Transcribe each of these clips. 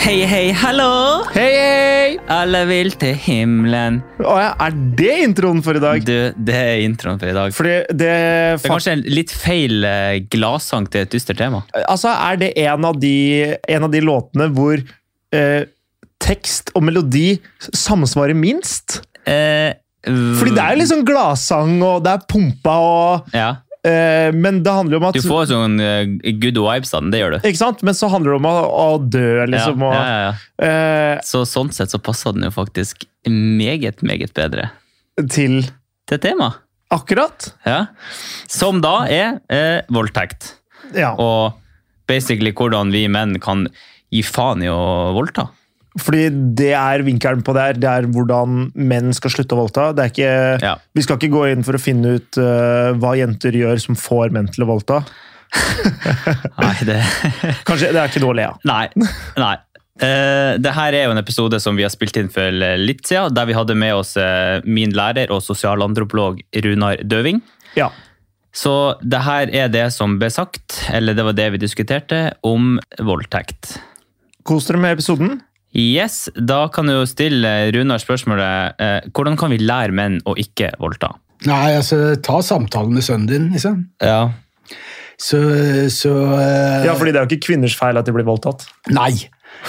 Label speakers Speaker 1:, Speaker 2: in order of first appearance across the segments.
Speaker 1: hei, hallo!
Speaker 2: Hei, hei!
Speaker 1: Alle vil til himmelen.
Speaker 2: Å, ja, er det introen for i dag?
Speaker 1: Du, det er introen for i dag.
Speaker 2: Fordi det
Speaker 1: Det er kanskje en litt feil eh, gladsang til et dystert tema.
Speaker 2: Altså, er det en av de, en av de låtene hvor eh, tekst og melodi samsvarer minst?
Speaker 1: Eh,
Speaker 2: Fordi det er
Speaker 1: Mm.
Speaker 2: jo liksom gladsang, og det er pumpa, og,
Speaker 1: Ja.
Speaker 2: eh, men det handler jo om at
Speaker 1: Du får sånn eh, good vibes av den, det gjør du.
Speaker 2: ikke sant? Men så handler det om å, å dø, liksom.
Speaker 1: ja,
Speaker 2: Og,
Speaker 1: ja, ja, ja.
Speaker 2: eh,
Speaker 1: Så sånn sett så passer den jo faktisk meget, meget bedre
Speaker 2: eh, til
Speaker 1: til temaet.
Speaker 2: akkurat.
Speaker 1: Ja. Som da er eh, voldtekt.
Speaker 2: Ja.
Speaker 1: Og basically hvordan vi menn kan gi faen i å voldta.
Speaker 2: Fordi det er vinkelen på det her. Det er hvordan menn skal slutte å voldta. Det er ikke,
Speaker 1: Ja.
Speaker 2: Vi skal ikke gå inn for å finne ut eh, hva jenter gjør som får menn til å voldta.
Speaker 1: Nei, det...
Speaker 2: Kanskje det er ikke noe å le av.
Speaker 1: Nei. nei. Eh, det her er jo en episode som vi har spilt inn for eh, litt siden, der vi hadde med oss eh, min lærer og sosialantropolog Runar Døving.
Speaker 2: Ja.
Speaker 1: Så det her er det som ble sagt, eller det var det vi diskuterte, om voldtekt.
Speaker 2: Kos dere med episoden.
Speaker 1: Yes, da kan du jo stille Runar spørsmålet eh, hvordan kan vi lære menn å ikke voldta?
Speaker 3: Nei, altså, ta samtalen med sønnen din, liksom.
Speaker 1: Ja.
Speaker 3: Så, så eh,
Speaker 2: Ja, fordi det er jo ikke kvinners feil at de blir voldtatt.
Speaker 3: Nei.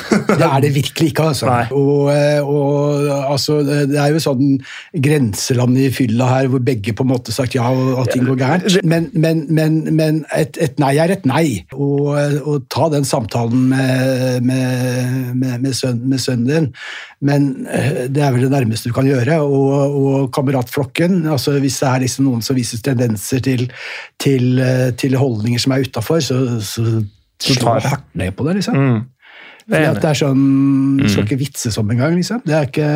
Speaker 3: Det er det virkelig ikke, altså.
Speaker 2: Nei.
Speaker 3: Og, eh, og altså, det er jo sånn grenseland i fylla her hvor begge på en måte sagt ja, og at ting går gærent. Men, men, men, men et, et nei er et nei. Og, eh, og ta den samtalen med, med, med, med, sønnen, med sønnen din. Men eh, det er vel det nærmeste du kan gjøre. Og, og kameratflokken, altså hvis det er liksom noen som viser tendenser til, til, eh, til holdninger som er utafor, så, så
Speaker 2: Så
Speaker 3: slå
Speaker 2: tar-
Speaker 3: hardt ned på det, liksom.
Speaker 2: Mm.
Speaker 3: Fordi
Speaker 2: Jeg er Mm.
Speaker 3: at det er sånn, Du skal ikke vitses om engang, liksom. Det er ikke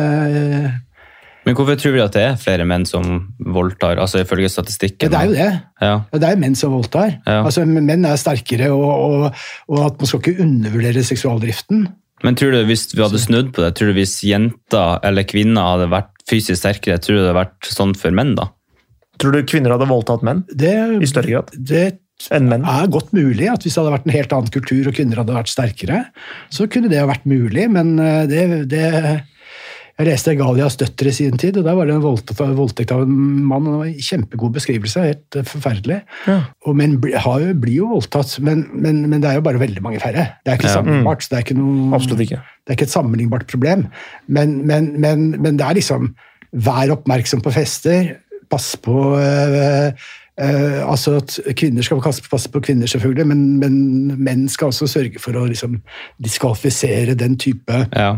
Speaker 1: Men hvorfor tror vi at det er flere menn som voldtar, altså ifølge
Speaker 3: Ja,
Speaker 1: statistikken?
Speaker 3: det er jo det.
Speaker 1: Ja.
Speaker 3: Ja, Det er jo menn som voldtar.
Speaker 1: Ja.
Speaker 3: Altså, Menn er sterkere, og, og, og at man skal ikke undervurdere seksualdriften.
Speaker 1: Men tror du hvis vi hadde snudd på det, tror du hvis jenter eller kvinner hadde vært fysisk sterkere, tror du det hadde vært sånn for menn da?
Speaker 2: Tror du kvinner hadde voldtatt menn
Speaker 3: Det,
Speaker 2: i større grad
Speaker 3: det
Speaker 2: enn menn?
Speaker 3: er godt mulig at hvis det hadde vært en helt annen kultur, og kvinner hadde vært sterkere, så kunne det ha vært mulig, men eh, det, det jeg leste Galias døtre i sin tid, og der var det en voldtekt, voldtekt av en mann. og det var en Kjempegod beskrivelse, helt eh, forferdelig. Og Menn bli- har jo- blir jo voldtatt, men, men, men det er jo bare veldig mange færre. Det er ikke
Speaker 1: Ja.
Speaker 3: sammenlignbart. så Det er ikke, noe,
Speaker 2: Absolutt ikke.
Speaker 3: det er ikke et sammenlignbart problem. Men, men, men, men det er liksom Vær oppmerksom på fester. Pass på eh, eh, altså at Kvinner skal passe passe på kvinner, selvfølgelig, men, men menn skal også sørge for å liksom, diskvalifisere den type
Speaker 1: Ja.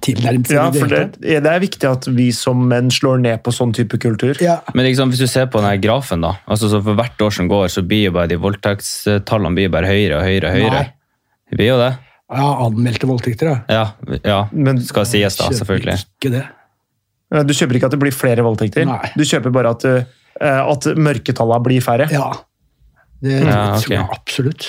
Speaker 3: tilnærmelser.
Speaker 2: Ja,
Speaker 3: i det
Speaker 2: for
Speaker 3: hele
Speaker 2: det, det er viktig at vi som menn slår ned på sånn type kultur.
Speaker 3: tatt. ja.
Speaker 1: Men liksom, hvis du ser på denne grafen da, altså så for hvert år som går, så blir jo bare de voldtektstallene blir bare høyere og høyere og høyere.
Speaker 3: Nei.
Speaker 1: Det blir jo det.
Speaker 3: Ja, anmeldte voldtekter, ja.
Speaker 1: Ja, ja.
Speaker 2: Men-
Speaker 1: skal sies da, selvfølgelig.
Speaker 3: Ikke det.
Speaker 2: Eh, Du kjøper ikke at det blir flere voldtekter.
Speaker 3: Nei.
Speaker 2: Du kjøper bare at, eh, at mørketallene blir færre.
Speaker 3: Ja. Det
Speaker 1: Ja,
Speaker 3: tror jeg
Speaker 1: ok.
Speaker 3: absolutt.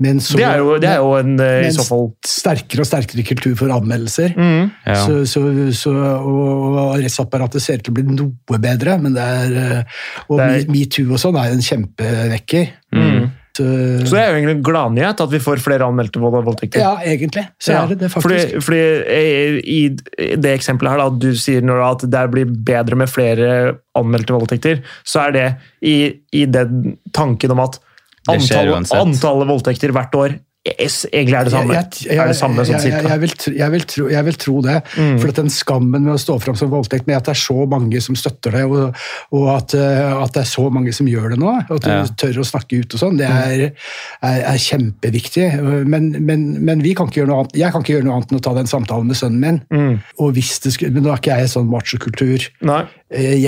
Speaker 3: Men så,
Speaker 2: Det er jo, det er jo en, eh, i
Speaker 3: men
Speaker 2: så fall
Speaker 3: sterkere og sterkere kultur for anmeldelser.
Speaker 1: Mm. Ja.
Speaker 3: Så, så, så, og og rettsapparatet ser ut til å bli noe bedre, men det er eh, Og
Speaker 2: Det er-
Speaker 3: Me- metoo og sånn er jo en kjempevekker.
Speaker 1: Mm.
Speaker 3: Så,
Speaker 2: Så det er jo egentlig en gladnyhet at vi får flere anmeldte vold og voldtekter.
Speaker 3: ja, egentlig. Så er det det,
Speaker 2: Fordi,
Speaker 3: faktisk.
Speaker 2: fordi eh, i det eksempelet her da, du sier Nora, at det blir bedre med flere anmeldte voldtekter, så er det i, i den tanken om at
Speaker 1: Det skjer
Speaker 2: antall,
Speaker 1: uansett.
Speaker 2: antallet voldtekter hvert år es, egentlig er det samme.
Speaker 3: Jeg, jeg,
Speaker 2: er det samme Mm. sånn
Speaker 3: jeg, jeg,
Speaker 2: cirka.
Speaker 3: jeg, vil, tro- jeg, vil tro, jeg vil tro det. For at den skammen med å stå fram som voldtekt, med at det er så mange som støtter det, og, og at, eh, at det er så mange som gjør det nå, at du
Speaker 1: Ja.
Speaker 3: tør å snakke ut og
Speaker 2: Mm.
Speaker 3: sånn, det er, er, er kjempeviktig. Men, men, men vi kan ikke gjøre noe annet. jeg kan ikke gjøre noe annet enn å ta den samtalen med sønnen min.
Speaker 2: Mm.
Speaker 3: Og hvis det skulle, men nå er ikke jeg sånn machokultur-gjeng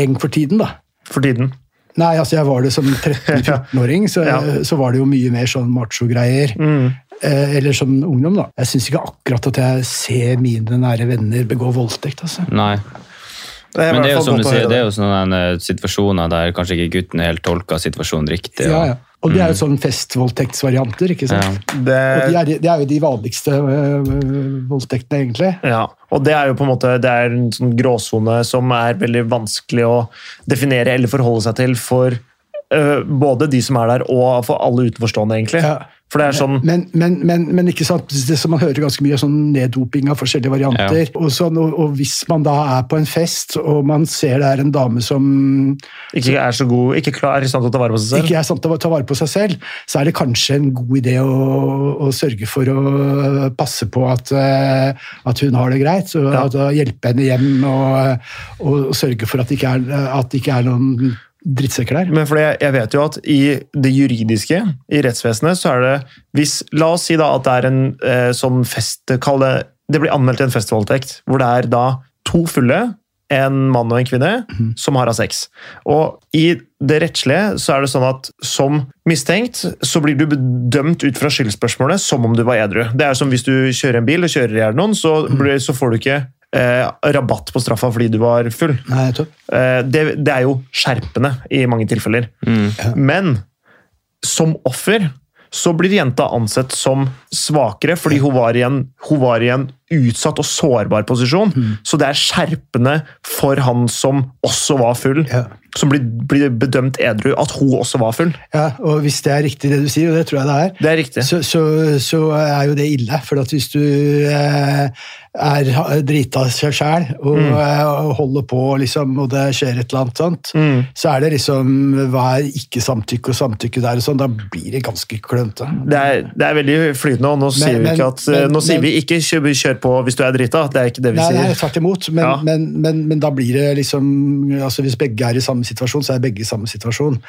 Speaker 2: Nei,
Speaker 3: for tiden, da.
Speaker 2: for tiden.
Speaker 3: Nei, altså jeg var det som 13-14-åring, så,
Speaker 2: Ja.
Speaker 3: så var det jo mye mer sånn macho-greier. Eh, eller som ungdom, da. Jeg syns ikke akkurat at jeg ser mine nære venner begå voldtekt, altså.
Speaker 1: Nei.
Speaker 2: er i
Speaker 1: Men det
Speaker 2: hvert
Speaker 1: er jo
Speaker 2: fall
Speaker 1: som
Speaker 2: godt
Speaker 1: du
Speaker 2: å
Speaker 1: sier,
Speaker 2: høre
Speaker 1: det er jo sånne eh, situasjoner der kanskje ikke gutten helt tolker situasjonen riktig.
Speaker 3: Ja,
Speaker 1: og-
Speaker 3: ja. Og det er jo sånn festvoldtektsvarianter, ikke sant. Og det
Speaker 2: Det-
Speaker 3: er, det er jo de vanligste øh, voldtektene, egentlig.
Speaker 2: Ja, og det er jo på en måte det er en sånn gråsone som er veldig vanskelig å definere eller forholde seg til for øh, både de som er der og for alle utenforstående, egentlig.
Speaker 3: Ja.
Speaker 2: For det er sånn
Speaker 3: Men, men, men, men ikke sant? Det som man hører ganske mye, er sånn neddoping av forskjellige varianter. Og, sånn, og, og hvis man da er på en fest, og man ser det er en dame som
Speaker 2: ikke er så god, ikke klar, er i stand til å ta vare på seg selv.
Speaker 3: ikke er sant til å ta vare på seg selv, så er det kanskje en god idé å, å sørge for å passe på at, eh, at hun har det greit. Så,
Speaker 2: Ja.
Speaker 3: at, å hjelpe henne hjem og, og sørge for at det ikke er, at det ikke er noen drittsekker der.
Speaker 2: Men fordi jeg, jeg vet jo at i det juridiske, i rettsvesenet, så er det hvis, La oss si da at det er en eh, sånn fest Kall det Det blir anmeldt en festvoldtekt, hvor det er da to fulle, en mann og en kvinne, som har hatt sex. Og i det rettslige så er det sånn at som mistenkt så blir du bedømt ut fra skyldspørsmålet som om du var edru. Det er som hvis du kjører en bil og kjører i hjel noen, så, blir, så får du ikke eh, rabatt på straffa fordi du var full.
Speaker 3: Nei, topp.
Speaker 2: Eh, det, det er jo skjerpende i mange tilfeller. Men som offer så blir jenta ansett som svakere fordi hun var i en, hun var i en utsatt og sårbar posisjon.
Speaker 3: Mm.
Speaker 2: Så det er skjerpende for han som også var full,
Speaker 3: Ja.
Speaker 2: som blir, blir bedømt edru, at hun også var full.
Speaker 3: Ja, og hvis det er riktig det du sier, og det tror jeg det er,
Speaker 2: Det er riktig.
Speaker 3: så, så, så er jo det ille. For at hvis du eh, er ha- drita seg sjæl og,
Speaker 2: Mm.
Speaker 3: eh, og holder på, liksom, og det skjer et eller annet sånt,
Speaker 2: Mm.
Speaker 3: så er det liksom hva er ikke samtykke og samtykke der og sånn, da blir det ganske klønete.
Speaker 2: Det er, det er veldig flytende, og nå sier vi
Speaker 3: men-
Speaker 2: ikke, at, eh,
Speaker 3: men-
Speaker 2: nå sier
Speaker 3: men-
Speaker 2: vi ikke kjør, 'kjør på hvis du er drita'. Det er ikke det vi
Speaker 3: Nei, nei,
Speaker 2: sier.
Speaker 3: tvert imot, men,
Speaker 2: Ja.
Speaker 3: men, men, men da blir det liksom altså Hvis begge er i samme situasjon, så er begge i samme situasjon.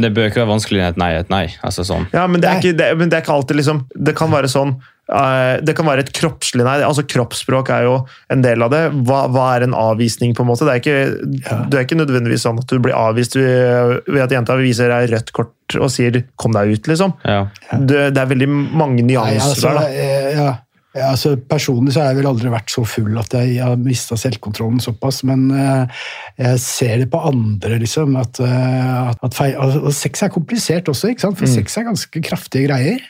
Speaker 1: Men det bør ikke være vanskeligere enn et nei et nei. Altså sånn.
Speaker 2: Ja, men det er,
Speaker 3: Nei.
Speaker 2: ikke, det, men det er ikke alltid liksom Det kan være sånn eh, det kan være et kroppslig nei. altså Kroppsspråk er jo en del av det. Hva, hva er en avvisning? på en måte? Det er ikke, det er ikke nødvendigvis sånn at du blir avvist ved, ved at jenta viser deg rødt kort og sier 'kom deg ut'. liksom.
Speaker 1: Ja.
Speaker 2: Det, det er veldig mange
Speaker 3: Nei,
Speaker 2: nyanser
Speaker 3: altså,
Speaker 2: der. da.
Speaker 3: eh, ja. Ja, altså, personlig så har jeg vel aldri vært så full at jeg har mista selvkontrollen såpass, men eh, jeg ser det på andre, liksom. At, eh, at- at feil, og, og sex er komplisert også, ikke sant? for sex er ganske kraftige greier.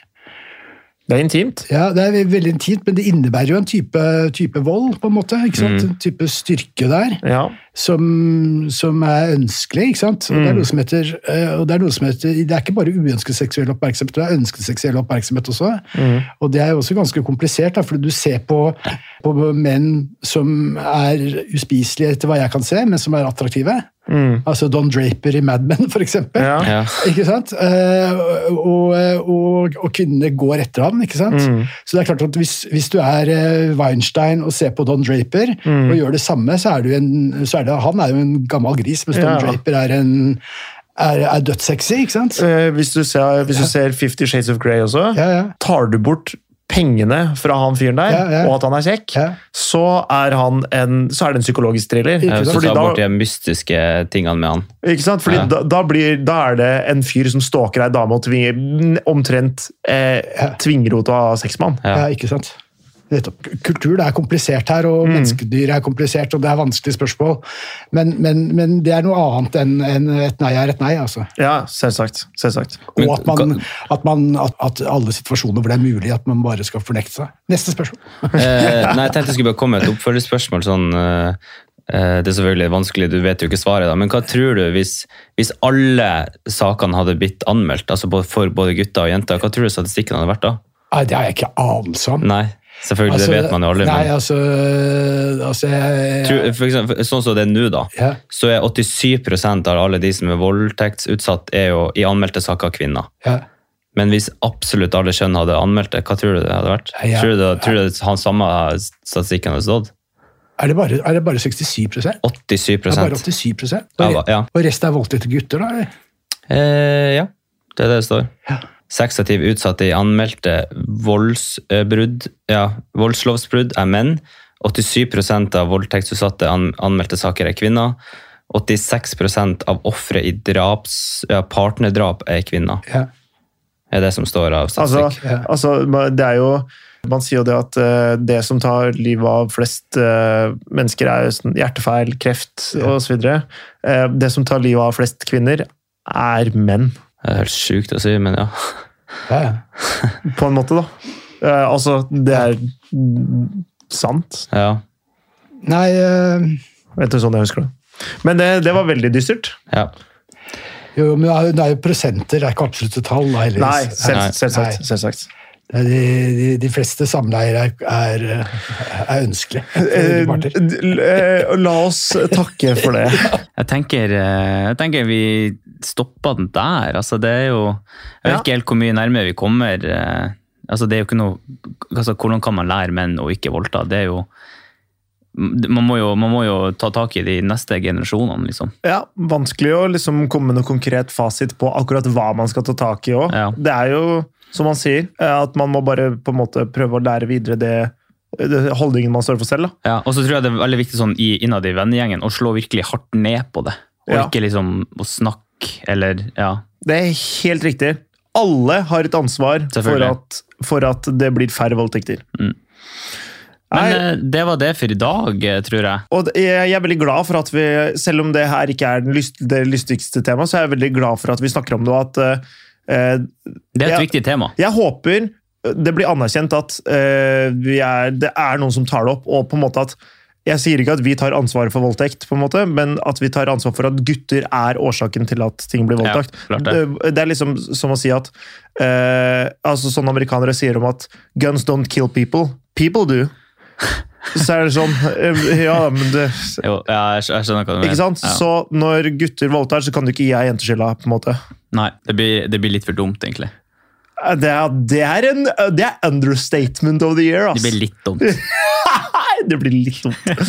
Speaker 2: Det er intimt.
Speaker 3: Ja, Det er ve- veldig intimt, men det innebærer jo en type, type vold, på en måte. ikke sant? En type styrke der
Speaker 2: Ja.
Speaker 3: som, som er ønskelig. ikke sant? Og det er noe som heter, eh, og det er noe som heter, det er ikke bare uønsket seksuell oppmerksomhet, det er ønsket seksuell oppmerksomhet også. Og det er jo også ganske komplisert, da, for du ser på, på menn som er uspiselige etter hva jeg kan se, men som er attraktive. Altså Don Draper i Mad Men, for eksempel.
Speaker 2: Ja.
Speaker 1: Ja.
Speaker 3: Ikke sant? Eh, Og, og, og kvinnene går etter han, ikke sant? Så det er klart at hvis, hvis du er eh, Weinstein og ser på Don Draper og gjør det samme, så er, du en, så er det han er jo en gammel gris, mens Don
Speaker 2: Ja.
Speaker 3: Draper er en er, er dødssexy, ikke sant?
Speaker 2: Eh, Hvis du ser, hvis du ser 'Fifty Shades of Grey' også,
Speaker 3: Ja, ja.
Speaker 2: tar du bort pengene fra han fyren der,
Speaker 3: Ja, ja.
Speaker 2: og at han er kjekk,
Speaker 3: Ja.
Speaker 2: så, er han en, så er det en psykologisk thriller.
Speaker 1: Jeg
Speaker 3: Ikke
Speaker 1: skal
Speaker 2: Fordi
Speaker 1: ta
Speaker 2: da-
Speaker 1: bort de mystiske tingene med han.
Speaker 2: Ikke sant? Fordi
Speaker 1: Ja.
Speaker 2: da, da, blir, da er det en fyr som stalker ei dame og tvinger, omtrent eh, tvinger henne til å ha sex med han.
Speaker 1: Ja.
Speaker 3: Ja, ikke sant? Nettopp. Kultur det er komplisert her, og menneskedyr er komplisert, og det er vanskelige spørsmål. Men, men, men det er noe annet enn enn et nei er et nei, altså.
Speaker 2: Ja, selvsagt. selvsagt.
Speaker 1: Men
Speaker 3: Og at, man,
Speaker 1: kan-
Speaker 3: at, man, at, at alle situasjoner hvor det er mulig, at man bare skal fornekte seg. Neste spørsmål.
Speaker 1: Eh, nei, jeg tenkte jeg skulle bare komme med et oppfølgingsspørsmål. Sånn, eh, eh, det er selvfølgelig vanskelig, du vet jo ikke svaret, da, men hva tror du hvis, hvis alle sakene hadde blitt anmeldt, altså både for både gutter og jenter, hva tror du statistikken hadde vært da?
Speaker 3: Nei, det har jeg ikke anelse om.
Speaker 1: Nei, selvfølgelig, det vet man jo aldri.
Speaker 3: Altså, Nei,
Speaker 1: Men,
Speaker 3: altså, altså jeg,
Speaker 1: tror, for eksempel, sånn som det er nå, da,
Speaker 3: Ja.
Speaker 1: så er 87 av alle de som er voldtektsutsatt, er jo i anmeldte saker kvinner.
Speaker 3: ja.
Speaker 1: Men hvis absolutt alle kjønn hadde anmeldt det, hva tror du det hadde vært?
Speaker 3: Nei, jeg-
Speaker 1: Tror du, det- tror du det han samme statistikken hadde stått?
Speaker 3: Er, det bare, er det bare 67 Det er
Speaker 1: 87
Speaker 3: bare 87
Speaker 1: Ja,
Speaker 3: Og,
Speaker 1: da- ja.
Speaker 3: og resten er voldtekte gutter, da? eller?
Speaker 1: Eh, ja, det er det det står.
Speaker 3: Ja.
Speaker 1: Sexativ utsatte i anmeldte voldsbrudd, ja, voldslovsbrudd er menn. 87 av voldtektsutsatte an anmeldte saker er kvinner. 86 av ofre i draps, ja, partnerdrap er kvinner.
Speaker 3: Ja.
Speaker 1: er det som står av
Speaker 2: Altså,
Speaker 1: statistikk.
Speaker 3: Ja.
Speaker 2: altså, det er jo Man sier jo det at eh, det som tar livet av flest eh, mennesker, er jo sånn hjertefeil, kreft osv. Uh, det som tar livet av flest kvinner, er menn,
Speaker 1: det er helt sjukt å si, men ja.
Speaker 3: Ja, ja.
Speaker 2: på en måte, da. Eh, altså, det er mm, sant.
Speaker 1: ja.
Speaker 3: Nei eh,
Speaker 2: Vet du, sånn jeg husker det. Men det, det var veldig dystert.
Speaker 1: ja.
Speaker 3: Jo, men det er jo- det er jo prosenter, det er ikke absolutte tall. da, heldigvis.
Speaker 2: Nei,
Speaker 1: Nei.
Speaker 2: selv-
Speaker 3: Nei.
Speaker 2: selvsagt. selvsagt.
Speaker 3: Det er De, de, de fleste samleier er, er, er ønskelige.
Speaker 2: Eh,
Speaker 3: for begge parter.
Speaker 2: d- eh, La oss takke for det.
Speaker 1: Jeg tenker, eh, jeg tenker vi stopper den der. Altså, det er jo Jeg vet
Speaker 2: Ja.
Speaker 1: ikke helt hvor mye nærmere vi kommer. eh, Altså, det er jo ikke noe altså, Hvordan kan man lære menn å ikke voldta? Det er jo man må, jo, man må jo ta tak i de neste generasjonene, liksom.
Speaker 2: Ja, Vanskelig å liksom komme med noe konkret fasit på akkurat hva man skal ta tak i òg.
Speaker 1: Ja.
Speaker 2: Det er jo, som han sier, eh, at man må bare på en måte prøve å lære videre det, det holdningen man står for selv. da.
Speaker 1: Ja, og så tror jeg det er veldig viktig sånn, i- innad i vennegjengen å slå virkelig hardt ned på det. Og
Speaker 2: Ja.
Speaker 1: ikke liksom å snakke eller Ja.
Speaker 2: Det er helt riktig. Alle har et ansvar for
Speaker 1: Selvfølgelig.
Speaker 2: at, for at det blir færre voldtekter.
Speaker 1: Mm.
Speaker 2: Nei,
Speaker 1: Men eh, det var det for i dag, eh, tror jeg.
Speaker 2: og jeg jeg er veldig glad for at vi, selv om det her ikke er den lyst, det lystigste temaet, så er jeg veldig glad for at vi snakker om det, og at eh,
Speaker 1: Det er et
Speaker 2: Ja.
Speaker 1: viktig tema.
Speaker 2: Jeg håper det blir anerkjent at eh, vi er, det er noen som tar det opp, og på en måte at jeg sier ikke at vi tar ansvaret for voldtekt, på en måte, men at vi tar ansvar for at gutter er årsaken til at ting blir
Speaker 1: Ja,
Speaker 2: voldtakt.
Speaker 1: klart det.
Speaker 2: det. det er liksom som å si at eh, altså Sånn amerikanere sier om at 'guns don't kill people'. People do. Så er det sånn eh, Ja, men det
Speaker 1: Jo, ja, jeg skj- jeg skjønner hva du mener.
Speaker 2: Ikke sant?
Speaker 1: Ja.
Speaker 2: Så når gutter voldtar, så kan du ikke gi ei jente skylda, på en måte.
Speaker 1: Nei, det blir, det blir litt for dumt, egentlig.
Speaker 2: Det er, det er en det er understatement of the year, ass.
Speaker 1: Det blir litt dumt.
Speaker 2: Nei, det blir litt dumt.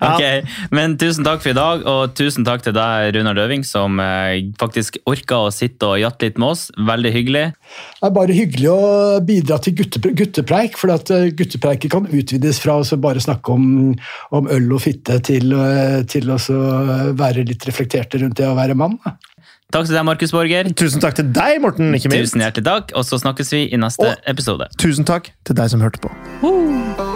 Speaker 1: Ok, Men tusen takk for i dag, og tusen takk til deg, Runar Døving, som eh, faktisk orka å sitte og jatte litt med oss. Veldig hyggelig.
Speaker 3: Det er bare hyggelig å bidra til gutte, guttepreik, for at eh, guttepreiket kan utvides fra å så bare snakke om, om øl og fitte til, eh, til å så være litt reflekterte rundt det å være mann. da.
Speaker 1: Takk til deg, Markus Borger.
Speaker 2: Tusen takk til deg, Morten, ikke minst.
Speaker 1: Tusen hjertelig takk, og så snakkes vi i neste
Speaker 2: Og-
Speaker 1: episode.
Speaker 2: Tusen takk til deg som hørte på.
Speaker 1: Woo!